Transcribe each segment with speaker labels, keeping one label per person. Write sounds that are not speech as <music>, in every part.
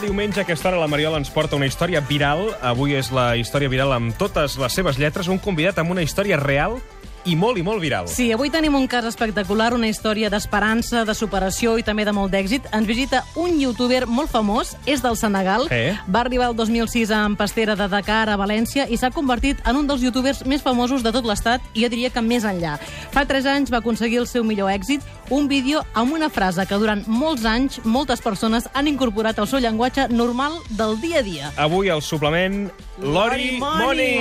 Speaker 1: diumenge a aquesta hora la Mariola ens porta una història viral. Avui és la història viral amb totes les seves lletres. Un convidat amb una història real i molt i molt viral.
Speaker 2: Sí, avui tenim un cas espectacular, una història d'esperança, de superació i també de molt d'èxit. Ens visita un youtuber molt famós, és del Senegal,
Speaker 1: Eh?
Speaker 2: va arribar el 2006 a Empastera de Dakar a València i s'ha convertit en un dels youtubers més famosos de tot l'estat i jo diria que més enllà. Fa 3 anys va aconseguir el seu millor èxit, un vídeo amb una frase que durant molts anys moltes persones han incorporat al seu llenguatge normal del dia a dia.
Speaker 1: Avui al suplement Lori
Speaker 2: Lori Moni.
Speaker 1: Moni.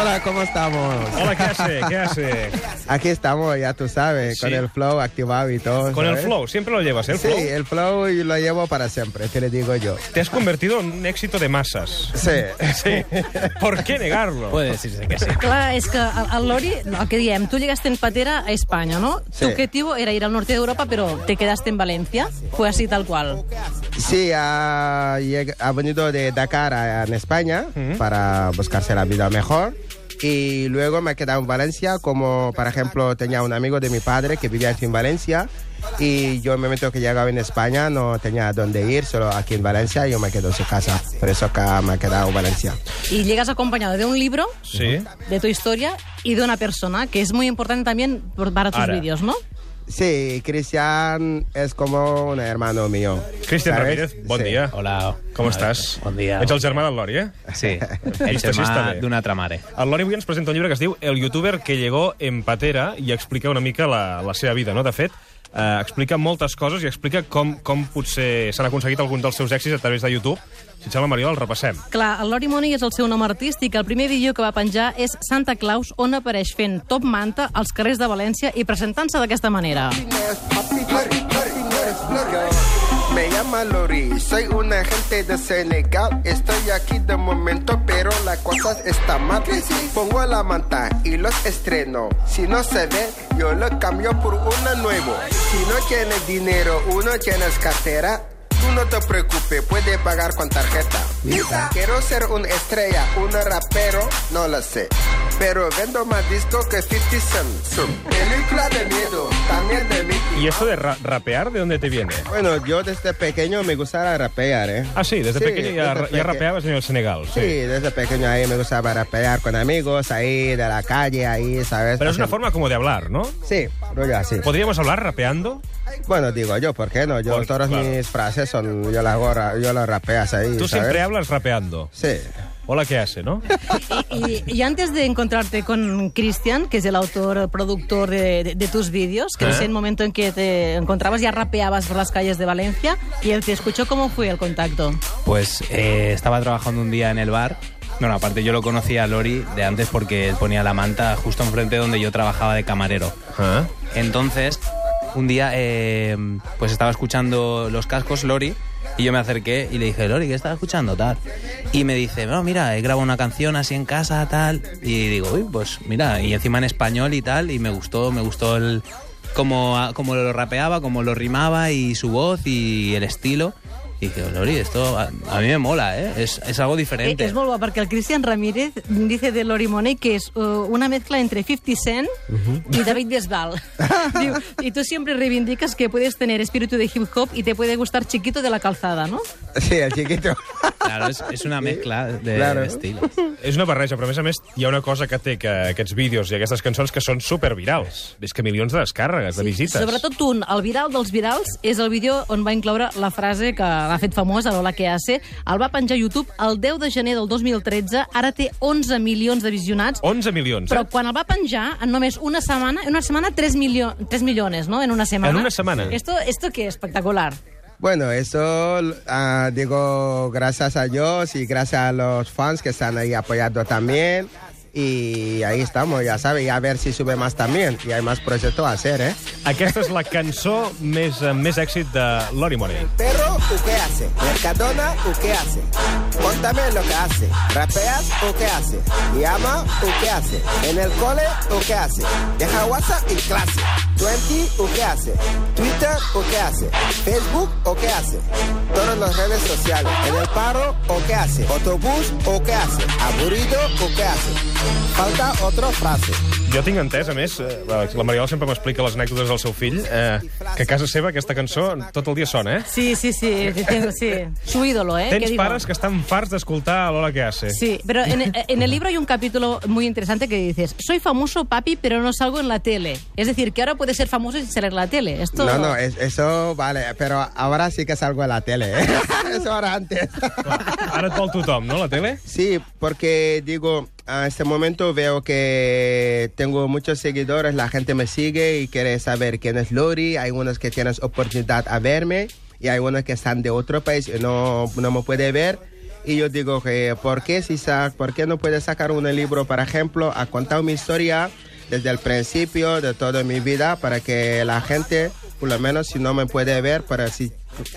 Speaker 3: Hola, ¿cómo estamos?
Speaker 1: Hola, què hace? ¿Qué hace?
Speaker 3: Aquí estamos, ya tú sabes,
Speaker 1: Sí.
Speaker 3: con el flow activado y todo.
Speaker 1: Con el
Speaker 3: ¿sabes?
Speaker 1: flow, siempre lo llevas, ¿eh? el
Speaker 3: Sí,
Speaker 1: flow.
Speaker 3: el flow y lo llevo para siempre, te le digo yo.
Speaker 1: Te has convertido en un éxito de masas.
Speaker 3: Sí.
Speaker 1: Sí. ¿Por qué negarlo?
Speaker 4: Puede decirse que sí.
Speaker 2: Clar, és que el, el Lori, el que diem, tu llegaste en patera a Espanya, ¿no?
Speaker 3: Sí.
Speaker 2: Tu objetivo era ir al norte de Europa, pero te quedaste en Valencia. Fue así tal cual.
Speaker 3: Sí, ha, lleg- ha venido de Dakar a, en España para buscarse la vida mejor. Y luego me he quedado en Valencia, como por ejemplo tenía un amigo de mi padre que vivía aquí en Valencia. Y yo en el momento que llegaba en España no tenía dónde ir, solo aquí en Valencia y yo me quedo en su casa. Por eso acá me he quedado en Valencia.
Speaker 2: Y llegas acompañado de un libro,
Speaker 1: Sí.
Speaker 2: de tu historia y de una persona, que es muy importante también por- para tus
Speaker 1: Ara.
Speaker 2: vídeos, ¿no?
Speaker 3: Sí, Cristian es como un hermano mío.
Speaker 1: Cristian
Speaker 3: ¿sabes?
Speaker 1: Ramírez, bon
Speaker 3: Sí.
Speaker 1: dia.
Speaker 4: Hola.
Speaker 1: Com estàs?
Speaker 4: Bon dia.
Speaker 1: Ets el germà del Lori, eh?
Speaker 4: Sí, el
Speaker 1: Vista, sí, està
Speaker 4: germà
Speaker 1: bé.
Speaker 4: d'una altra mare.
Speaker 1: El Lori avui ens presenta un llibre que es diu El youtuber que llegó en patera i explica una mica la, la seva vida, no? De fet, eh, explica moltes coses i explica com, com potser s'han aconseguit alguns dels seus èxits a través de YouTube. Si et sembla, Mariola, el repassem.
Speaker 2: Clar, el Lori Money és el seu nom artístic. El primer vídeo que va penjar és Santa Claus, on apareix fent top manta als carrers de València i presentant-se d'aquesta manera.
Speaker 3: Me llama Lori, soy un agente de Senegal. Estoy aquí de momento, pero la cosa está mal. Pongo la manta y los estreno. Si no se ve, yo lo cambio por uno nuevo. Si no tienes dinero, uno tienes cartera. Tú no te preocupes, puedes pagar con tarjeta. Quiero ser una estrella, un rapero, no lo sé. Pero vendo más disco que 50 Cent. Película de miedo, también de Mickey.
Speaker 1: I esto de ra rapear, ¿de dónde te viene?
Speaker 5: Bueno, yo desde pequeño me gustaba rapear, ¿eh?
Speaker 1: Ah, sí, desde
Speaker 5: Sí,
Speaker 1: pequeño ya,
Speaker 5: desde
Speaker 1: ya
Speaker 5: peque-
Speaker 1: rapeabas en el Senegal.
Speaker 5: Sí, desde pequeño ahí me gustaba rapear con amigos, ahí de la calle, ahí, ¿sabes?
Speaker 1: Pero es una
Speaker 5: Haciendo-
Speaker 1: forma como de hablar, ¿no?
Speaker 5: Sí, rollo así.
Speaker 1: ¿Podríamos hablar rapeando?
Speaker 5: Bueno, digo yo, ¿por qué no? Yo
Speaker 1: Por-
Speaker 5: todas
Speaker 1: claro.
Speaker 5: mis frases son, yo las hago ra- yo las rapeas ahí,
Speaker 1: Tú
Speaker 5: ¿sabes?
Speaker 1: siempre hablas rapeando.
Speaker 5: Sí.
Speaker 1: Hola, ¿qué
Speaker 5: <laughs>
Speaker 1: hace, no?
Speaker 2: Y, y antes de encontrarte con Cristian, que es el autor, productor de, de- de tus vídeos, que
Speaker 1: ¿Eh?
Speaker 2: en el momento en que te encontrabas ya rapeabas por las calles de Valencia y él te escuchó, ¿cómo fue el contacto?
Speaker 4: Pues eh, estaba trabajando un día en el bar. Bueno, aparte yo lo conocía a Lori de antes porque él ponía la manta justo enfrente donde yo trabajaba de camarero.
Speaker 1: Ah.
Speaker 4: Entonces, un día eh, pues estaba escuchando los cascos Lori y yo me acerqué y le dije, Lori, ¿qué estás escuchando? Tal. Y me dice, no, mira, he grabado una canción así en casa, tal. Y digo, uy, pues mira, y encima en español y tal, y me gustó, me gustó el cómo, cómo lo rapeaba, cómo lo rimaba y su voz y el estilo. Y dije, Lori, esto a, a mí me mola, ¿eh? Es, es algo
Speaker 2: Eh,
Speaker 4: diferente.
Speaker 2: Es muy guapo, porque el Cristian Ramírez dice de Lori Money que es eh, una mezcla entre 50 Cent y David Bisbal. Diu, y tú siempre reivindicas que puedes tener espíritu de hip hop y te puede gustar chiquito de la calzada, ¿no?
Speaker 5: <laughs> Sí, el chiquito.
Speaker 4: Claro, es, es una mezcla de
Speaker 5: Claro.
Speaker 4: estilos.
Speaker 1: És una barreja, però a més a més hi ha una cosa que té que aquests vídeos i aquestes cançons que són supervirals. És que milions de descàrregues, de visites.
Speaker 2: Sobretot un, el viral dels virals, és el vídeo on va incloure la frase que l'ha fet famosa, l'Hola que hace. El va penjar a YouTube el 10 de gener del 2013, ara té 11 milions de visionats,
Speaker 1: 11 milions.
Speaker 2: però
Speaker 1: eh?
Speaker 2: quan el va penjar, en només una setmana, en una setmana 3, milio, 3 millones, ¿no? En una semana.
Speaker 1: En una setmana.
Speaker 2: Esto, esto que espectacular.
Speaker 5: Bueno, eso ah, digo gracias a Dios y gracias a los fans que están ahí apoyando también. Y ahí estamos, ya sabes, y a ver si sube más también. Y hay más proyectos a hacer, ¿eh?
Speaker 1: Aquesta és la cançó més, amb més èxit de Lori Money.
Speaker 3: ¿Perro o qué hace? ¿Mercadona o qué hace? Cuéntame lo que hace. ¿Rapeas o qué hace? ¿Llama o qué hace? ¿En el cole o qué hace? Deja WhatsApp y clase.
Speaker 6: 20 o qué hace, Twitter o qué hace, Facebook o qué hace, todas las redes sociales, en el paro o qué hace, autobús o qué hace, aburrido o qué hace. Falta otra frase.
Speaker 1: Jo tinc entès, a més, eh, la Mariola sempre m'explica les anècdotes del seu fill, eh, que a casa seva aquesta cançó tot el dia sona, eh?
Speaker 2: Sí, sí, sí, tengo- sí. Su ídolo, ¿eh? ¿Qué
Speaker 1: Tens
Speaker 2: digo?
Speaker 1: pares que estan farts d'escoltar l'hora que hace.
Speaker 2: Sí, pero en, en el libro hay un capítulo muy interesante que dices, soy famoso papi, pero no salgo en la tele. Es decir, que ahora puedes ser famoso sin salir en la tele. Esto...
Speaker 3: No, no, es- eso vale, pero ahora sí que salgo a la tele. ¿eh? <laughs> Eso era antes.
Speaker 1: Ara et vol tothom, no, la tele?
Speaker 3: Sí, porque digo, a este momento veo que tengo muchos seguidores, la gente me sigue y quiere saber quién es Lori. Hay unos que tienen oportunidad a verme y hay unos que están de otro país y no, no me puede ver. Y yo digo que, ¿por qué, si sa- ¿por qué no puedes sacar un libro, por ejemplo, a contar mi historia desde el principio de toda mi vida para que la gente, por lo menos si no me puede ver, pero si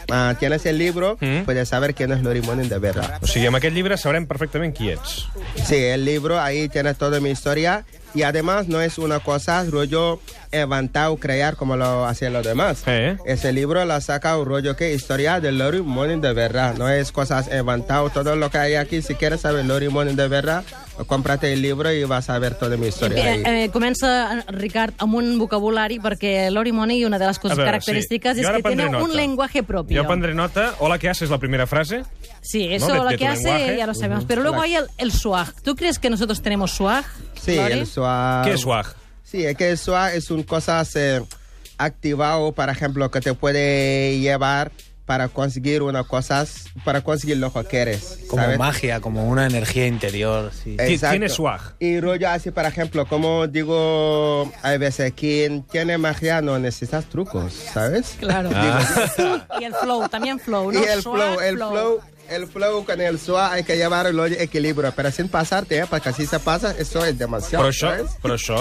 Speaker 3: ah, tienes el libro,
Speaker 1: ¿Mm?
Speaker 3: puedes saber quién es Lori Monin de verdad.
Speaker 1: O sigui, amb aquest llibre sabrem perfectament qui ets.
Speaker 3: Sí, el libro ahí tiene toda mi historia y además no es una cosa rollo inventar o crear como lo hacen los demás.
Speaker 1: Eh.
Speaker 3: Ese libro la saca un rollo que historia de Lori Monin de verdad, no es cosas inventadas, todo lo que hay aquí. Si quieres saber Lori Monin de verdad, cómprate el libro y vas a ver toda mi historia.
Speaker 2: Eh,
Speaker 3: ahí.
Speaker 2: eh, comença, Ricard, amb un vocabulari, perquè Lori Money, una de les
Speaker 1: A
Speaker 2: coses
Speaker 1: veure,
Speaker 2: característiques,
Speaker 1: sí.
Speaker 2: és
Speaker 1: Jo ara
Speaker 2: que tiene
Speaker 1: prendré
Speaker 2: un
Speaker 1: nota.
Speaker 2: lenguaje propio.
Speaker 1: Jo prendré nota. Hola, què haces? La primera frase.
Speaker 2: Sí,
Speaker 1: ¿no?
Speaker 2: eso
Speaker 1: de-
Speaker 2: lo
Speaker 1: de tu
Speaker 2: que hace
Speaker 1: lenguaje.
Speaker 2: ya lo sabemos. Pero luego hay el, el swag. ¿Tú crees que nosotros tenemos swag?
Speaker 3: Sí,
Speaker 2: Lori?
Speaker 3: el swag.
Speaker 1: Què és swag?
Speaker 3: Sí, es que el SWAT es un cosas eh, activado, por ejemplo, que te puede llevar para conseguir unas cosas, para conseguir lo que quieres.
Speaker 4: Como
Speaker 3: ¿sabes?
Speaker 4: magia, como una energía interior. Sí.
Speaker 1: Ti-
Speaker 3: Exacto.
Speaker 1: tiene swag.
Speaker 3: Y rollo así, por ejemplo, como digo, hay veces, quien tiene magia no necesitas trucos, ¿sabes?
Speaker 2: Claro.
Speaker 1: Ah.
Speaker 2: <laughs> Y el flow, también flow,
Speaker 3: Y
Speaker 2: ¿no?
Speaker 3: el
Speaker 2: Swag,
Speaker 3: flow, el flow, el flow con el SWAT hay que llevar el equilibrio, pero sin pasarte, ¿eh? porque si se pasa, eso es demasiado.
Speaker 1: Però això,
Speaker 3: ¿sabes?
Speaker 1: però això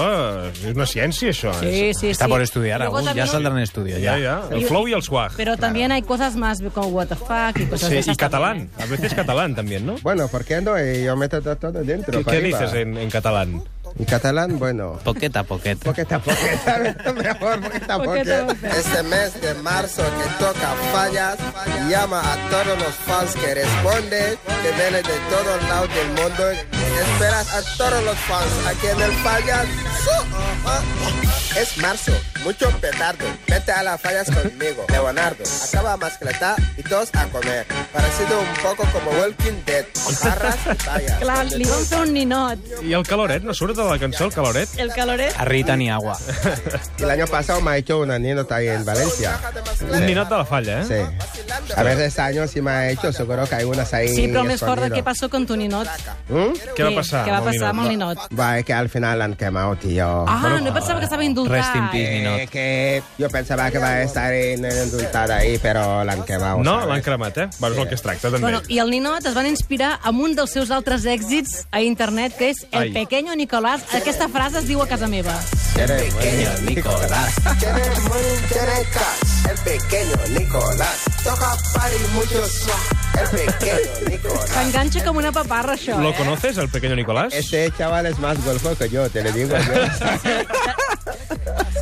Speaker 1: eh, és una ciència, això.
Speaker 2: Sí, sí,
Speaker 4: Está
Speaker 2: sí.
Speaker 4: por estudiar
Speaker 2: Luego
Speaker 4: aún, ya
Speaker 2: también-
Speaker 4: saldrán en estudio.
Speaker 1: Ja,
Speaker 4: Ya.
Speaker 1: ja. El flow i el swag.
Speaker 2: Pero también hay cosas más como what the fuck y cosas
Speaker 1: Sí, i
Speaker 2: de esas
Speaker 1: català.
Speaker 2: también, ¿eh?
Speaker 1: A veces català, també, no?
Speaker 3: Bueno, ¿por qué no? Y yo meto to- todo dentro.
Speaker 1: Què,
Speaker 3: para
Speaker 1: què
Speaker 3: arriba.
Speaker 1: dices eh? en, en català?
Speaker 3: En catalán, bueno.
Speaker 4: Poqueta, poqueta.
Speaker 3: Poqueta, poqueta, mejor
Speaker 2: Poqueta,
Speaker 3: poqueta, poqueta.
Speaker 2: poqueta.
Speaker 6: Este mes de marzo que toca fallas, llama a todos los fans que responden, que vienen de todos lados del mundo. Esperas a todos los fans aquí en el fallas. Su- oh, oh. Es marzo, mucho petardo. Vete a las fallas conmigo, Leonardo. Acaba mascletá y todos a comer. Parecido un poco como Walking Dead. Barras y vallas.
Speaker 2: Clar, li van fer un ninot.
Speaker 1: I el caloret? No surt de la cançó, el caloret?
Speaker 2: El caloret...
Speaker 4: Arrita ni agua.
Speaker 3: El año pasado me ha hecho una ninota ahí en Valencia.
Speaker 1: Un ninot de la falla, eh?
Speaker 3: Sí. A ver, este año sí me ha hecho, seguro que hay unas ahí.
Speaker 2: Sí, però més fort,
Speaker 3: escondido.
Speaker 2: què passó amb tu ninot?
Speaker 3: ¿Mm?
Speaker 1: Què va
Speaker 2: Sí,
Speaker 1: passar?
Speaker 2: Què va
Speaker 1: amb el
Speaker 2: passar amb el
Speaker 1: ninot?
Speaker 2: ninot?
Speaker 3: Va, es que al final han quemado, tío.
Speaker 2: Ah, no pensava que estava indultat.
Speaker 4: Rest in peace,
Speaker 3: Eh,
Speaker 4: Ninot.
Speaker 3: que yo pensaba que va a estar en el indultado ahí, pero la han quemado.
Speaker 1: No,
Speaker 3: ¿sabes?
Speaker 1: l'han cremat, eh? Bueno, és el que es tracta, també.
Speaker 2: Bueno, I el Ninot es van inspirar amb un dels seus altres èxits a internet, que és El
Speaker 1: Ai.
Speaker 2: pequeño Nicolás. Aquesta frase es diu a casa meva.
Speaker 3: Eres bueno, Nicolás.
Speaker 6: Tiene money, tiene cash, el pequeño Nicolás. Toca party mucho swag, el pequeño Nicolás.
Speaker 2: T'enganxa com una paparra, això,
Speaker 1: ¿Lo
Speaker 2: eh?
Speaker 1: conoces, el pequeño Nicolás?
Speaker 3: Este chaval es más golfo que yo, te lo
Speaker 2: <laughs>
Speaker 3: digo yo.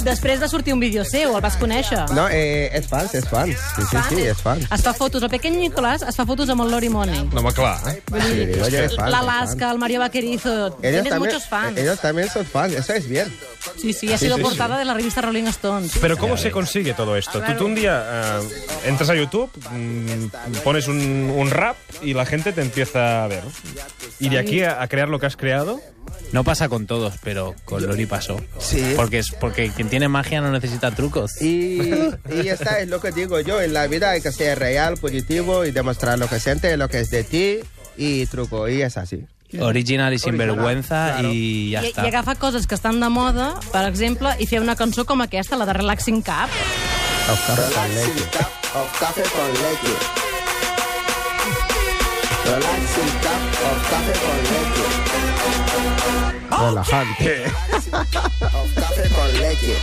Speaker 2: Després de sortir un vídeo seu, el vas conèixer.
Speaker 3: No, eh, es fan, es fan. Sí, sí, sí, es fan.
Speaker 2: Es fa fotos, el pequeño Nicolás es fa fotos amb el Lori Money.
Speaker 1: No, home, clar. Eh?
Speaker 3: Sí, oye, es fan. es fan.
Speaker 2: L'Alaska, el Mario Vaquerizo...
Speaker 3: Ellos
Speaker 2: Tienes
Speaker 3: también-
Speaker 2: muchos fans.
Speaker 3: Ellos también son fans, eso es bien.
Speaker 2: Sí, sí, ha sido portada de la revista Rolling Stones.
Speaker 1: Pero ¿cómo se consigue todo esto? Tú, tú un día eh, entras a YouTube, mm, pones un, un rap y la gente te empieza a ver. Y de aquí a, a crear lo que has creado,
Speaker 4: No pasa con todos, pero con Lori pasó.
Speaker 3: Sí.
Speaker 4: Porque, es, porque quien tiene magia no necesita trucos.
Speaker 6: <laughs>
Speaker 3: Y, y esta es lo que digo yo, en la vida hay que ser real, positivo y demostrar lo que sientes, lo que es de ti y truco, y es así.
Speaker 4: Original y sin vergüenza
Speaker 3: claro.
Speaker 4: y ya
Speaker 2: I,
Speaker 4: está.
Speaker 2: I agafar coses que estan de moda, per exemple, i fer una cançó com aquesta, la de Relaxing Cup.
Speaker 6: Relaxing cup of café con leche. Relaxing cup of café con leche.
Speaker 3: Relajante.
Speaker 6: Of café con leche.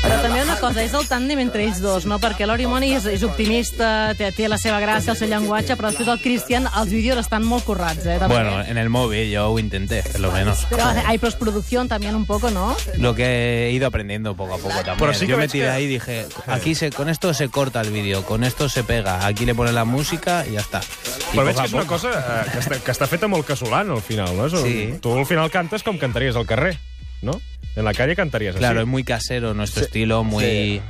Speaker 2: Però també una cosa, és el tàndem entre ells dos, no? Perquè l'Ori Money és, és optimista, té, té la seva gràcia, el seu llenguatge, però després el Christian, els vídeos estan molt currats, eh? També.
Speaker 4: Bueno, en el móvil yo intenté, por lo menos.
Speaker 2: Pero hay postproducción también un poco, ¿no?
Speaker 4: Lo que he ido aprendiendo poco a poco también.
Speaker 1: Pero sí que
Speaker 4: yo me
Speaker 1: ves
Speaker 4: tiré
Speaker 1: que-
Speaker 4: ahí y dije, aquí se, con esto se corta el vídeo, con esto se pega, aquí le pones la música y ya está. Y
Speaker 1: Però
Speaker 4: poco
Speaker 1: veig
Speaker 4: a
Speaker 1: que és una
Speaker 4: poco.
Speaker 1: cosa eh, que està, que està feta molt casolana, al final, no? És un-
Speaker 4: Sí.
Speaker 1: Tu al final cantes com cantaries al carrer, no? En la calle cantaries així.
Speaker 4: Claro, es muy casero nuestro estilo, muy...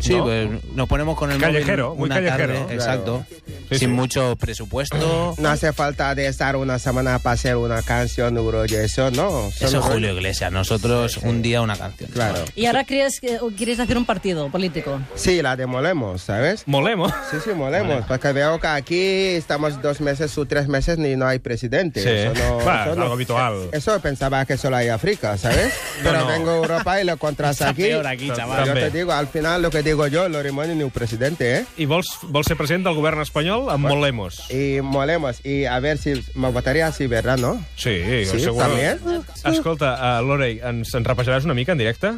Speaker 4: Sí,
Speaker 1: ¿No?
Speaker 4: pues nos ponemos con el móvil
Speaker 1: Callejero, muy
Speaker 4: una
Speaker 1: callejero,
Speaker 4: tarde,
Speaker 1: claro.
Speaker 4: exacto.
Speaker 1: Sí,
Speaker 4: Sin
Speaker 1: sí.
Speaker 4: mucho presupuesto.
Speaker 3: No hace falta de estar una semana para hacer una canción, euro, y eso no.
Speaker 4: Eso
Speaker 3: Solo-
Speaker 4: es Julio Iglesias, nosotros un día una canción.
Speaker 3: Claro.
Speaker 2: Y ahora crees que o quieres hacer un partido político.
Speaker 3: Sí, la demolemos, ¿sabes?
Speaker 1: Molemo.
Speaker 3: Sí, sí, molemos. Porque veo que aquí estamos dos meses o tres meses ni no hay presidente.
Speaker 1: Sí.
Speaker 3: Eso no,
Speaker 1: Va,
Speaker 3: eso no-
Speaker 1: algo habitual.
Speaker 3: Eso pensaba que solo hay África, ¿sabes?
Speaker 1: <laughs> No,
Speaker 3: Pero
Speaker 1: no.
Speaker 3: vengo a Europa y lo encuentras aquí.
Speaker 4: peor aquí, chaval.
Speaker 3: Yo
Speaker 1: També.
Speaker 3: te digo, al final lo que digo yo, Lorimoni ni un presidente, ¿eh?
Speaker 1: I vols, vols ser president del govern espanyol amb Molemos.
Speaker 3: Y molemos. Y a ver si me votaría así, ¿verdad? ¿No?
Speaker 1: Sí,
Speaker 3: Sí,
Speaker 1: seguro.
Speaker 3: també.
Speaker 1: Escolta, uh, Lorey, ens, ens repassaràs una mica en directe?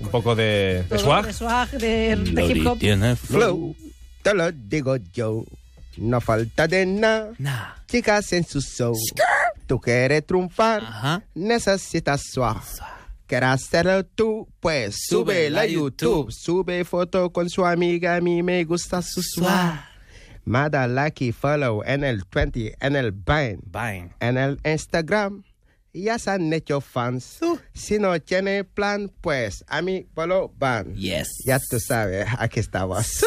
Speaker 1: Un poco de, de swag?
Speaker 2: De swag, de, de hip hop.
Speaker 4: tiene
Speaker 3: Flow, te lo digo yo. No falta de nada.
Speaker 4: Nah.
Speaker 3: Chicas en su show. Tú quieres triunfar.
Speaker 4: Ajá.
Speaker 3: Necesitas swag. Quieres hacerlo tú, pues sube la YouTube. Sube foto con su amiga, a mí me gusta su swag. Mada like y follow en el 20, en el Vine,
Speaker 4: Vine.
Speaker 3: en el Instagram. Ya se han hecho fans. Si no tiene plan, pues a mí polo van.
Speaker 4: Yes.
Speaker 3: Ya tú sabes, aquí estamos.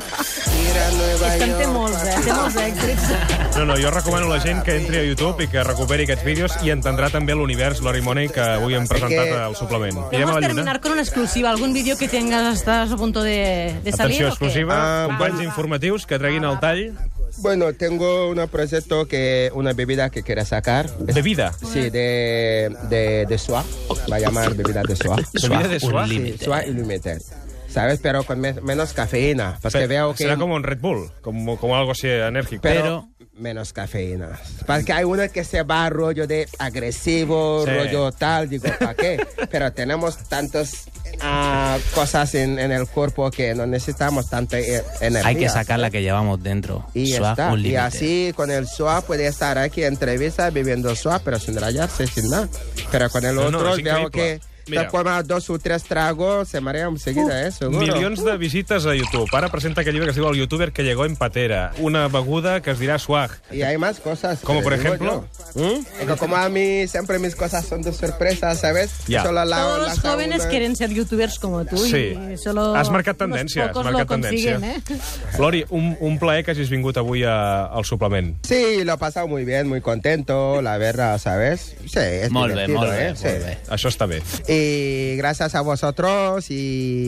Speaker 2: És que en té molts, eh? Té molts
Speaker 1: <laughs>
Speaker 2: èxits.
Speaker 1: No, no, jo recomano a la gent que entri a YouTube i que recuperi aquests vídeos i entendrà també l'univers Lori Money que avui hem presentat
Speaker 3: que-
Speaker 1: al suplement.
Speaker 2: Vamos a terminar con una exclusiva, algún vídeo que tengas, estás a punto de, de salir.
Speaker 1: Atenció
Speaker 2: o qué?
Speaker 1: exclusiva,
Speaker 3: Ah,
Speaker 1: companys informatius que treguin el tall
Speaker 3: Bueno, tengo un proyecto que una bebida que quiera sacar.
Speaker 1: de vida.
Speaker 3: Sí, de, de, de Suá. Va a llamar bebida de Suá.
Speaker 1: De vida de
Speaker 4: un
Speaker 1: suar.
Speaker 4: límit.
Speaker 3: Sí, Suá y Limited. ¿Sabes? Pero con me- menos cafeína. Porque veo que.
Speaker 1: Será como un Red Bull, como, como algo así enérgico.
Speaker 3: Pero, menos cafeína. Porque hay uno que se va rollo de agresivo,
Speaker 1: Sí.
Speaker 3: rollo tal, digo, ¿para qué? Pero tenemos tantas ah, cosas en, en el cuerpo que no necesitamos tanta e- energía.
Speaker 4: Hay que sacar la que llevamos dentro.
Speaker 3: Y, ya
Speaker 4: Swag,
Speaker 3: está.
Speaker 4: un
Speaker 3: y
Speaker 4: límite.
Speaker 3: así con el SWAP puede estar aquí en entrevista viviendo SWAP, pero sin rayarse, sin nada. Pero con el
Speaker 1: No, no,
Speaker 3: otro
Speaker 1: es
Speaker 3: veo
Speaker 1: increíble.
Speaker 3: que
Speaker 1: Mira.
Speaker 3: te comas dos o tres tragos, se marea enseguida, ¿eh? Seguro.
Speaker 1: Milions de visites a YouTube. Ara presenta aquell llibre que es diu El youtuber que llegó en patera. Una beguda que es dirà swag.
Speaker 3: Y hay más cosas. que
Speaker 1: Como por
Speaker 3: digo
Speaker 1: ejemplo.
Speaker 3: yo. Porque como a mí siempre mis cosas son de sorpresa, ¿sabes?
Speaker 1: Ya.
Speaker 3: Solo la,
Speaker 2: Todos
Speaker 3: las
Speaker 2: los jóvenes
Speaker 3: algunas-
Speaker 2: quieren ser youtubers como tú
Speaker 1: Sí.
Speaker 2: y solo
Speaker 1: Has marcat
Speaker 2: unos
Speaker 1: tendència, has
Speaker 2: pocos
Speaker 1: marcat
Speaker 2: lo consiguen, eh?
Speaker 1: tendència. Lori, un, un plaer que hagis vingut avui a, al suplement.
Speaker 3: Sí, lo he pasado muy bien, muy contento, la verdad, ¿sabes? Sí, es
Speaker 4: Molt bé,
Speaker 3: divertido,
Speaker 4: molt bé,
Speaker 3: ¿eh? Sí.
Speaker 4: molt bé.
Speaker 1: Això està bé.
Speaker 3: Y gracias a vosotros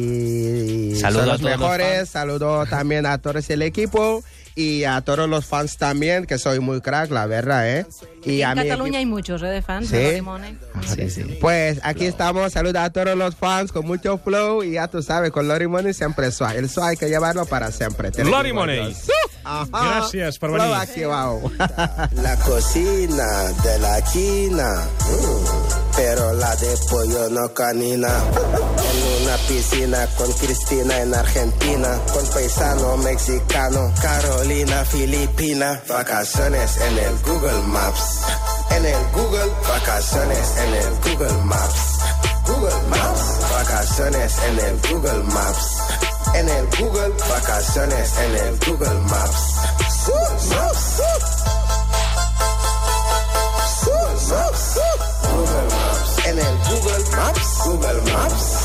Speaker 3: y
Speaker 4: Saludo
Speaker 3: son
Speaker 4: a
Speaker 3: los
Speaker 4: todos los
Speaker 3: mejores.
Speaker 4: fans.
Speaker 3: Saludo también a todos el equipo y a todos los fans también, que soy muy crack, la verdad, ¿eh? Y, a
Speaker 2: en
Speaker 3: mi
Speaker 2: Cataluña hay
Speaker 3: equipo-
Speaker 2: muchos eh, de fans
Speaker 3: Sí. Ah,
Speaker 2: de Lori Money.
Speaker 4: Sí, sí.
Speaker 3: Pues aquí estamos, saluda a todos los fans con mucho flow y ya tú sabes, con Lori Money siempre suave. El suave hay que llevarlo para siempre. te lo
Speaker 1: Lori
Speaker 3: digo yo.
Speaker 1: Money.
Speaker 3: Ajá.
Speaker 1: Gracias por
Speaker 3: Flow
Speaker 1: venir.
Speaker 3: activado.
Speaker 7: La cocina de la China, mm, pero la de pollo no canina. En una piscina con Cristina en Argentina, con paisano mexicano, Carolina filipina. Vacaciones en el Google Maps, en el Google, vacaciones en el Google Maps. Google Maps, vacaciones en el Google Maps. En el Google, vacaciones en el Google Maps. Maps. Google Maps. En el Google Maps. Google Maps.